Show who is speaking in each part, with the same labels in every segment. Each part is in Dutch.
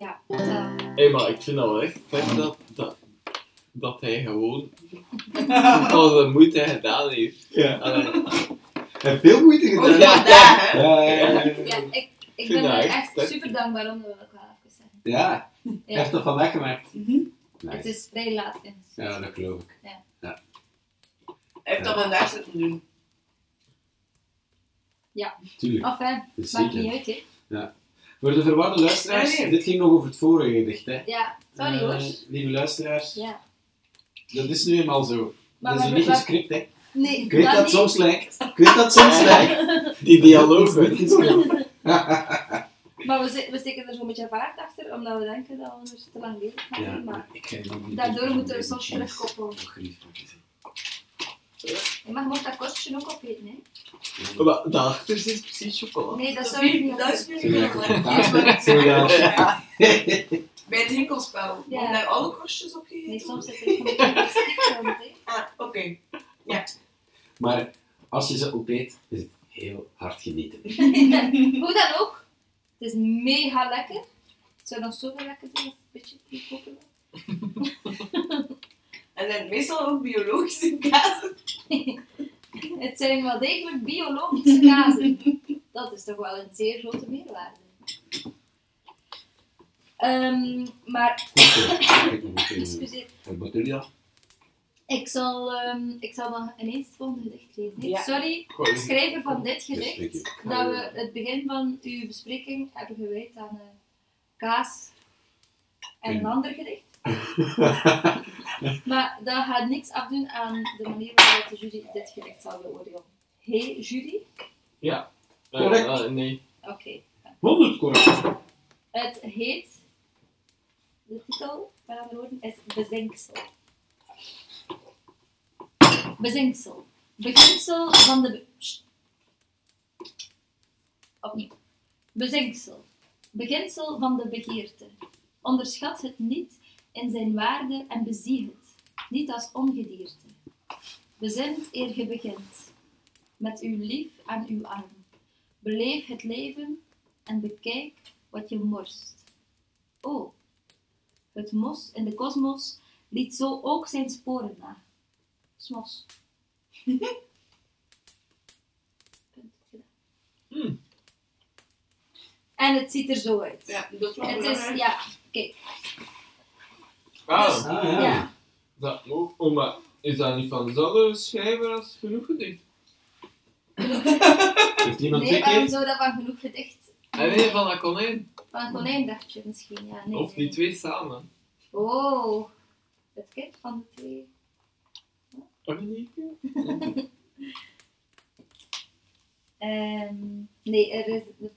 Speaker 1: Ja, dat.
Speaker 2: Hé, maar ik vind dat wel echt vet dat, dat, dat hij gewoon al de moeite gedaan heeft.
Speaker 3: Ja.
Speaker 2: Allee,
Speaker 3: Hij heeft veel moeite
Speaker 4: Ook
Speaker 3: gedaan.
Speaker 2: Ja.
Speaker 4: vandaag, hè?
Speaker 3: Ja, ja, ja, ja.
Speaker 1: Ja, ik, ik
Speaker 2: vind
Speaker 1: ben
Speaker 2: dat
Speaker 1: er
Speaker 2: echt
Speaker 1: echt
Speaker 2: sterk.
Speaker 1: super dankbaar om, dat wil ik wel even zeggen.
Speaker 3: Ja, hij
Speaker 1: Ja.
Speaker 3: heeft dat vandaag gemerkt.
Speaker 4: Mhm.
Speaker 1: Het
Speaker 3: Nice.
Speaker 1: is vrij laat in.
Speaker 3: Ja, dat geloof ik.
Speaker 4: Hij heeft dat
Speaker 3: Ja.
Speaker 4: vandaag zitten doen.
Speaker 3: Tuurlijk,
Speaker 1: Enfin,
Speaker 3: dat is
Speaker 1: Oh, maakt niet
Speaker 3: zeker.
Speaker 1: uit, hè.
Speaker 3: Voor de verwarde luisteraars,
Speaker 4: Nee, nee.
Speaker 3: dit ging nog over het vorige gedicht, hè.
Speaker 1: Ja, sorry
Speaker 3: Eh,
Speaker 1: hoor.
Speaker 3: Lieve luisteraars,
Speaker 1: Ja.
Speaker 3: dat is nu eenmaal zo.
Speaker 1: Maar
Speaker 3: dat is
Speaker 1: we
Speaker 3: niet
Speaker 1: hebben-
Speaker 3: gescript, hè.
Speaker 1: Nee,
Speaker 3: Ik weet dat het
Speaker 1: niet.
Speaker 3: soms lijkt. Ik weet dat het soms
Speaker 2: Ja.
Speaker 3: lijkt.
Speaker 2: die
Speaker 3: Dat
Speaker 2: dialogen.
Speaker 3: is niet gescript.
Speaker 1: Maar we, zi- we steken er zo'n beetje vaart achter, omdat we denken dat we er te lang bezig gaan zijn. Maar
Speaker 3: ik ga nog niet
Speaker 1: daardoor
Speaker 3: doen.
Speaker 1: moeten we
Speaker 3: Ik
Speaker 1: soms
Speaker 3: moet
Speaker 1: terugkoppelen.
Speaker 3: nog grief maken.
Speaker 1: Je mag nog dat kostje ook opeten, hè.
Speaker 2: Maar daarachter zit precies chocolade.
Speaker 1: Nee, dat zou ik niet
Speaker 4: Sophie, dat
Speaker 1: doen.
Speaker 4: is nu
Speaker 3: Zullen we
Speaker 4: niet
Speaker 3: even
Speaker 4: meer
Speaker 3: praten? Zullen we daar-
Speaker 4: Ja. Bij het winkelspel. Worden
Speaker 1: Ja.
Speaker 4: daar alle kostjes op gegeten?
Speaker 1: Nee, soms zit er een beetje
Speaker 4: Ah, oké.
Speaker 3: Maar als je ze opeet, is het heel hard genieten.
Speaker 1: Hoe dan ook, het is mega lekker. Het zou nog zoveel lekker zijn als het een beetje goedkoper was.
Speaker 4: En dan meestal ook biologische kazen.
Speaker 1: Het zijn wel degelijk biologische kazen. Dat is toch wel een zeer grote meerwaarde. Ehm, maar,
Speaker 3: Goed zo. eh, Ik heb nog een keer-
Speaker 1: excuseer,
Speaker 3: Wat bedoel je?
Speaker 1: ik zal, ehm, ik zal dan ineens het volgende gedicht lezen. hè.
Speaker 4: Ja.
Speaker 1: Sorry,
Speaker 2: Gewoon- eh,
Speaker 1: schrijver van dit
Speaker 3: Yes,
Speaker 1: gedicht,
Speaker 3: thank you.
Speaker 1: dat we het begin van uw bespreking hebben gewijd aan eh, kaas en een
Speaker 3: Mm.
Speaker 1: ander gedicht. Maar dat gaat niks afdoen aan de manier waarop de jury dit gedicht zal beoordelen. Hé, hey, jury?
Speaker 2: Eh,
Speaker 3: Correct.
Speaker 2: eh, nee.
Speaker 1: Oké.
Speaker 3: 100 korrels.
Speaker 1: Het heet, de titel van de woorden is Bezinksel. Bezinksel. Beginsel van de. be- Sst. Opnieuw. Bezinksel. Beginsel van de begeerte. Onderschat het niet in zijn waarde en bezie het, niet als ongedierte. Bezint eer ge begint, met uw lief aan uw arm. Beleef het leven en bekijk wat je morst. Oh, het mos in de kosmos liet zo ook zijn sporen na. Smos. Punt. Gedaan.
Speaker 2: Hmm.
Speaker 1: En het ziet er zo uit.
Speaker 4: Ja, dat is wel
Speaker 1: Het
Speaker 4: belangrijk.
Speaker 1: is, ja,
Speaker 2: Ah,
Speaker 3: Ah,
Speaker 1: ja.
Speaker 3: ja.
Speaker 2: dat ook. Oh, maar is dat niet van dezelfde schrijver als genoeg gedicht?
Speaker 3: Heeft iemand
Speaker 1: Nee,
Speaker 3: twee
Speaker 1: waarom
Speaker 3: keer?
Speaker 1: zou dat van genoeg gedicht?
Speaker 2: En Ah, nee, van dat konijn.
Speaker 1: Van een konijn dacht je misschien, ja. Nee,
Speaker 2: Of
Speaker 1: nee.
Speaker 2: die twee samen.
Speaker 1: Oh, het kind van de twee.
Speaker 2: Of niet?
Speaker 1: Ehm, nee, er is,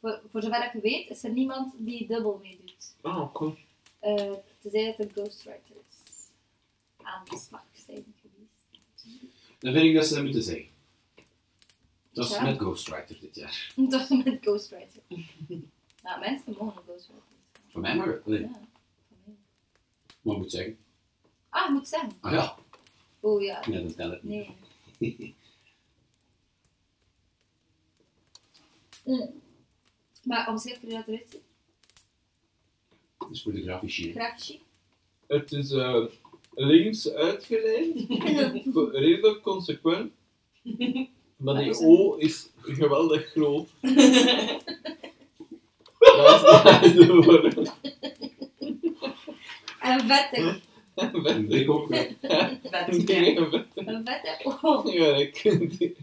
Speaker 1: voor, voor zover ik weet, is er niemand die dubbel meedoet.
Speaker 2: Oh, cool.
Speaker 1: Eh tenzij dat er ghostwriters aan de slag zijn geweest.
Speaker 3: Dan vind ik dat ze dat moeten zeggen. Dat is
Speaker 1: Ja.
Speaker 3: met Ghostwriter dit jaar.
Speaker 1: Dat is met ghostwriter. nou, mensen mogen een ghostwriter.
Speaker 3: Voor mij mag het. Nee,
Speaker 1: Ja. voor mij.
Speaker 3: maar moet zeggen.
Speaker 1: Ah, ik moet zeggen.
Speaker 3: Ah ja,
Speaker 1: Oh ja,
Speaker 3: nee, dat telt het niet.
Speaker 1: nee. Mm. Maar omschrijf je dat eruit ziet?
Speaker 3: Dat is voor de grafische.
Speaker 1: Grafisch.
Speaker 2: Het is eh, links uitgeleid, redelijk consequent. Maar
Speaker 1: Dat is
Speaker 2: die
Speaker 1: een-
Speaker 2: O is geweldig groot. Dat is, dat is de woorden.
Speaker 1: en
Speaker 2: Mm.
Speaker 1: vettig.
Speaker 3: Een blik ook. Een
Speaker 4: Vet, ja.
Speaker 1: Een vettig. Oh.
Speaker 2: Ja, dat kunt je.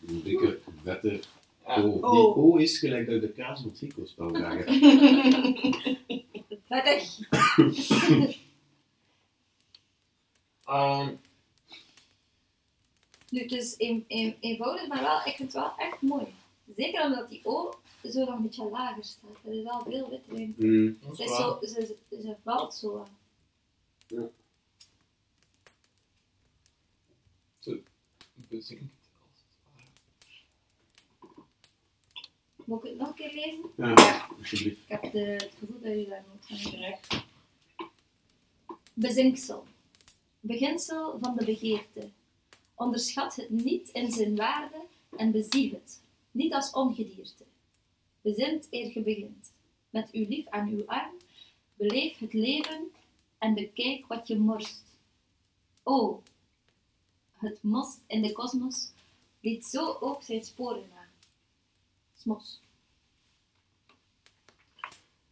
Speaker 3: dikke, vette
Speaker 2: Ja.
Speaker 3: O. Die
Speaker 4: Oh.
Speaker 3: O is gelijk uit de kaas van het winkelspel vragen.
Speaker 1: Vettig.
Speaker 2: Ehm,
Speaker 1: Nu, het is een, een, eenvoudig, maar wel, ik vind het wel echt mooi. Zeker omdat die O zo nog een beetje lager staat. Er is wel veel wit in.
Speaker 3: Mm.
Speaker 2: dat
Speaker 1: Ze,
Speaker 2: is
Speaker 1: is
Speaker 2: waar.
Speaker 1: zo, ze, ze valt zo aan.
Speaker 2: Bezinkt als het ware.
Speaker 1: Moet ik het nog een keer lezen?
Speaker 3: Ja, alsjeblieft.
Speaker 1: Ik heb de, het gevoel dat je daar moet gaan krijgen. Bezinksel. Beginsel van de begeerte. Onderschat het niet in zijn waarde en bezie het, niet als ongedierte. Bezint eer ge begint. Met uw lief aan uw arm, beleef het leven en bekijk wat je morst. Oh, het mos in de kosmos liet zo ook zijn sporen na. Smos.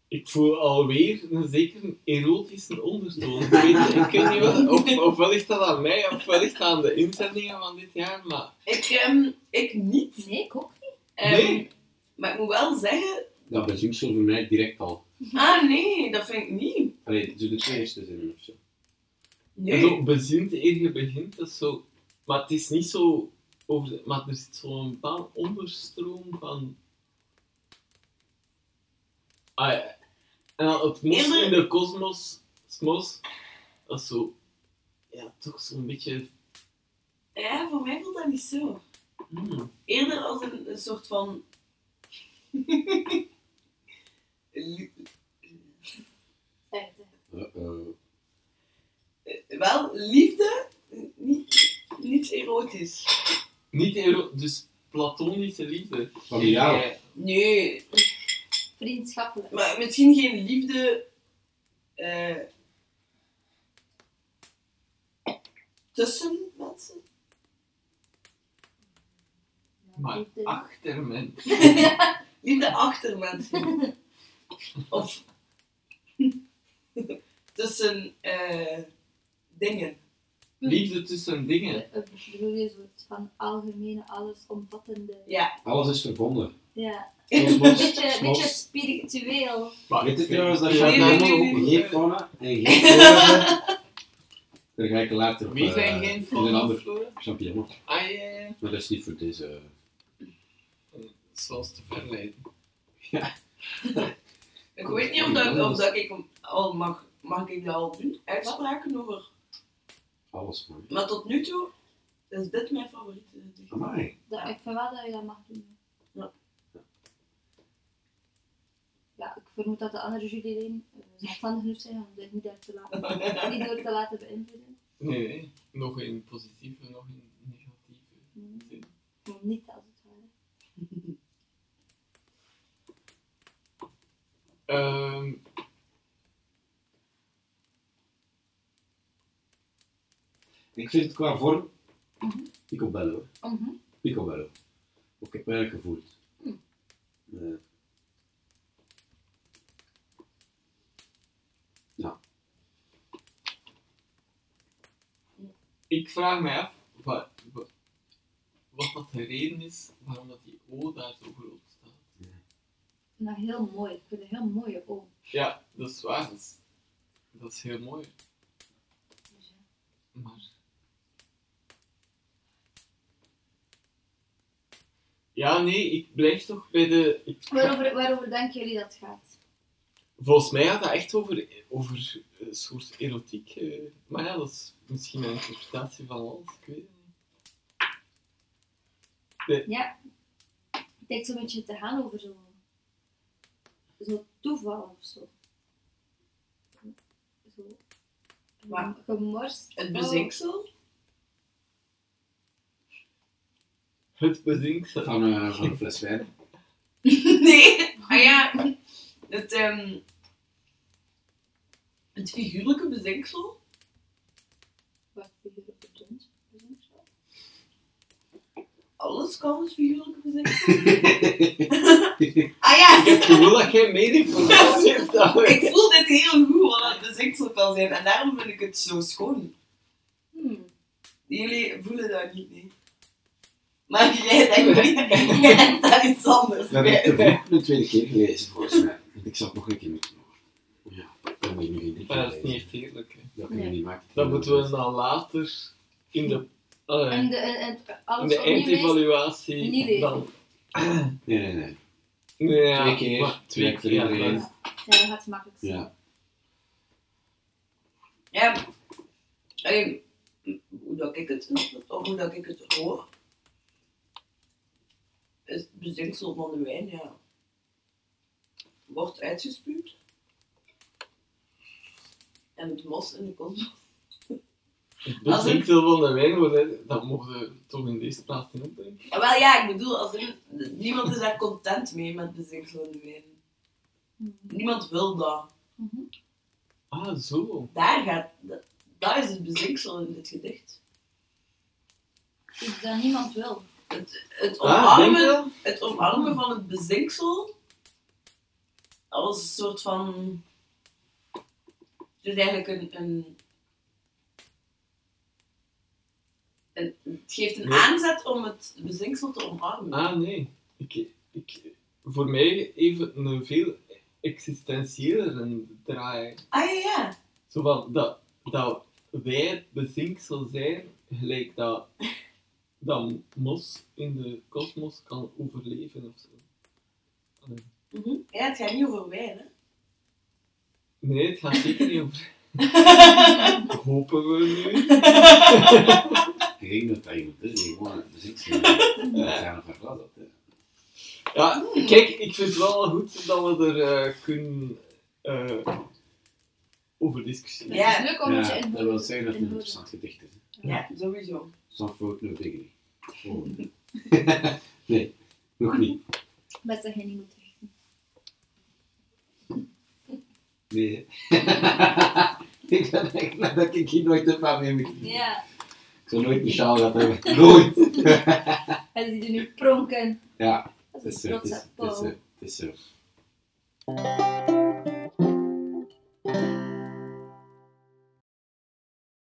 Speaker 2: Ik voel alweer een zekere erotische ondertoon. Ik weet, ik weet niet wat, of, of wellicht dat aan mij, of wellicht aan de inzendingen van dit jaar, maar...
Speaker 4: Ik, ehm, ik niet.
Speaker 1: Nee, ik ook niet.
Speaker 4: Ehm,
Speaker 2: Nee.
Speaker 4: Maar ik moet wel zeggen...
Speaker 3: Dat bezinksel voor mij direct al.
Speaker 4: Ah nee, dat vind ik niet.
Speaker 3: Allee, zo de twee eerste zinnen of zo.
Speaker 2: En
Speaker 4: Nee.
Speaker 2: Zo bezint eer je begint, dat is zo... Maar het is niet zo... Over de- maar er zit zo'n bepaalde onderstroom van... Ah ja. En dan het mos
Speaker 4: Ja, maar-
Speaker 2: in de kosmos, smos, dat is zo... Ja, toch zo'n beetje...
Speaker 4: Ja, voor mij voelt dat niet zo.
Speaker 2: hmm.
Speaker 4: Eerder als een, een soort van... Lu-
Speaker 1: Zeg het, hè.
Speaker 3: Uh-oh.
Speaker 4: eh, wel, liefde, niet, niet erotisch.
Speaker 2: Niet ero... Dus platonische liefde.
Speaker 3: Familiaal.
Speaker 2: Eh,
Speaker 4: Nee,
Speaker 1: Vriendschappelijk.
Speaker 4: Maar misschien geen liefde eh, tussen mensen.
Speaker 2: Maar
Speaker 1: Liefde.
Speaker 2: achter men.
Speaker 4: Liefde achter mensen. of tussen eh, dingen. Hm.
Speaker 2: Liefde tussen dingen.
Speaker 1: Eh, eh, bedoel je een soort van algemene, allesomvattende...
Speaker 4: Ja, Dus
Speaker 3: Alles is verbonden.
Speaker 1: Ja,
Speaker 3: Zoals
Speaker 1: een
Speaker 3: mos,
Speaker 1: beetje,
Speaker 3: mos.
Speaker 1: beetje spiritueel.
Speaker 3: Weet je trouwens dat je
Speaker 4: Nee, nee,
Speaker 3: helemaal
Speaker 4: nee, nee.
Speaker 3: geen fauna en geen flora bent? Daar ga ik later op.
Speaker 2: Wie
Speaker 3: eh,
Speaker 2: zijn geen
Speaker 3: in een
Speaker 2: van
Speaker 3: ander
Speaker 2: Flora?
Speaker 3: champignon.
Speaker 2: Ah ja, ja, ja.
Speaker 3: Maar dat is niet voor deze. eh,
Speaker 2: Zoals te verleiden.
Speaker 4: ik weet niet of, dat, of dat ik hem al mag, mag ik dat al doen. Uitspraken over.
Speaker 3: Alles man.
Speaker 4: Maar tot nu toe is dit mijn favoriete gedicht.
Speaker 3: Amai.
Speaker 1: Dat, ik vind wel dat je dat mag doen.
Speaker 4: Ja.
Speaker 1: Ja, ik vermoed dat de andere juryleden eh, zelfstandig genoeg zijn om dit niet, door te laten, niet door te laten beïnvloeden.
Speaker 2: Nee, nee. Nog een positieve, nog een negatieve.
Speaker 1: Mm. Maar Niet als het ware.
Speaker 2: Ehm
Speaker 3: Ik vind het qua vorm.
Speaker 1: Mhm.
Speaker 3: Picobello.
Speaker 1: Mhm.
Speaker 3: Picobello. Ook heb mij gevoeld.
Speaker 1: Hm.
Speaker 2: Mhm.
Speaker 3: Eh.
Speaker 2: ik vraag mij af wat, wat, wat dat de reden is waarom dat die O daar zo groot staat.
Speaker 1: Ik vind dat heel mooi. Ik vind het een heel mooie oom.
Speaker 2: Ja, dat is waar. Dat is, dat is heel mooi. Maar... Ja, nee, ik blijf toch bij de... Ik,
Speaker 1: Waarover, waarover denken jullie dat gaat?
Speaker 2: Volgens mij gaat dat echt over, over een soort erotiek. eh. Maar ja, dat is misschien mijn interpretatie van alles, ik weet het niet.
Speaker 1: Het lijkt zo'n beetje te gaan over zo'n zo toeval of zo. Zo.
Speaker 4: Maar-
Speaker 1: Gemorst. Oh,
Speaker 4: Het bezinksel.
Speaker 2: Het bezinksel.
Speaker 3: Van, eh, van een fles wijn.
Speaker 4: Nee. Ah ja, het, ehm, het figuurlijke bezinksel.
Speaker 1: Wacht, we hier op de grond. Bezinksel.
Speaker 4: Alles kan het figuurlijke bezinksel. ah ja,
Speaker 2: Ik wil dat jij meer informatie hebt dan ik.
Speaker 4: ik voel dit heel goed wat het bezinksel kan zijn. En daarom vind ik het zo schoon.
Speaker 1: Hmm.
Speaker 4: Jullie voelen dat niet, nee. Maar jij denkt niet. Jij denkt dat iets anders.
Speaker 3: Dat heb ik de vroeg een tweede keer gelezen volgens mij. Want ik zat nog een keer met Ja, dat moet je nu geen drie keer
Speaker 2: Maar dat is
Speaker 3: lezen.
Speaker 2: niet echt eerlijk. Hè.
Speaker 3: Dat kunnen we
Speaker 1: Nee.
Speaker 3: niet maken.
Speaker 2: Dat moeten we dan later in de, eh,
Speaker 1: En de, en, en,
Speaker 2: in
Speaker 1: alles
Speaker 2: de
Speaker 1: opnieuw lezen?
Speaker 2: eindevaluatie
Speaker 1: Niet lezen.
Speaker 2: dan...
Speaker 3: Nee, nee, nee.
Speaker 2: Nee, ja,
Speaker 3: Twee keer.
Speaker 2: maar twee
Speaker 3: Ja,
Speaker 2: keer.
Speaker 3: voor
Speaker 2: Ja,
Speaker 3: iedereen.
Speaker 2: maar-
Speaker 1: Ja, dat gaat het makkelijk zijn.
Speaker 3: Ja.
Speaker 4: Ja, ehm, hoe dat ik het of hoe dat ik het hoor, is het bezinksel van de wijn, ja, wordt uitgespuwd. En het mos in de kont.
Speaker 2: Ik
Speaker 4: Als
Speaker 2: bot
Speaker 4: ik-
Speaker 2: niet veel van de wijn, maar hè, dat mogen we toch in deze plaats niet opnemen.
Speaker 4: Ja, Ah, wel ja, ik bedoel, als er, niemand is daar content mee met bezinkelende wijn. Niemand wil dat.
Speaker 1: Hmm. Mhm.
Speaker 2: Ah, zo.
Speaker 4: Daar gaat, dat, dat is het bezinksel in dit gedicht.
Speaker 1: Iets Dus dat niemand wil.
Speaker 4: Het, het,
Speaker 2: Ah, denk je
Speaker 4: omarmen,
Speaker 2: wel?
Speaker 4: het omarmen van het bezinksel als een soort van. Het is eigenlijk een. een een- het geeft een
Speaker 2: Ja.
Speaker 4: aanzet om het bezinksel te omarmen.
Speaker 2: Ah, nee. Ik, ik, voor mij even een veel existentiëler draai.
Speaker 4: Ah ja, ja.
Speaker 2: Zo van, dat, dat wij het bezinksel zijn, gelijk dat, dat mos in de kosmos kan overleven of zo.
Speaker 4: Mhm. ja, het gaat niet over wijn, hè?
Speaker 2: Nee, het gaat zeker niet over. Hopen we nu.
Speaker 3: Ik denk dat dat iemand is die dus gewoon het bezit
Speaker 2: Ja.
Speaker 3: zijn of een glas op. hè.
Speaker 2: Ja, kijk, ik vind het wel goed dat we er eh, kunnen eh, over discussiëren.
Speaker 4: Ja.
Speaker 1: Het is leuk om je
Speaker 3: dat
Speaker 1: in
Speaker 3: wil zeggen dat het een
Speaker 1: in-
Speaker 3: interessant gedicht is.
Speaker 4: Ja, sowieso.
Speaker 3: Sans fout, no biggie. Oh. nee, nog niet.
Speaker 1: Best dat je niet moet richten.
Speaker 3: Nee. hè. ik ben echt blij dat ik hier nooit een paar mee moet.
Speaker 1: Ja,
Speaker 3: Ik zou nooit een sjaal dat hebben. Nooit!
Speaker 1: hij ziet er nu pronken.
Speaker 3: Ja,
Speaker 1: Dat
Speaker 3: het is
Speaker 1: is
Speaker 3: zo. Het is,
Speaker 1: plots
Speaker 3: het is zo.
Speaker 1: Paul.
Speaker 3: Het is zo.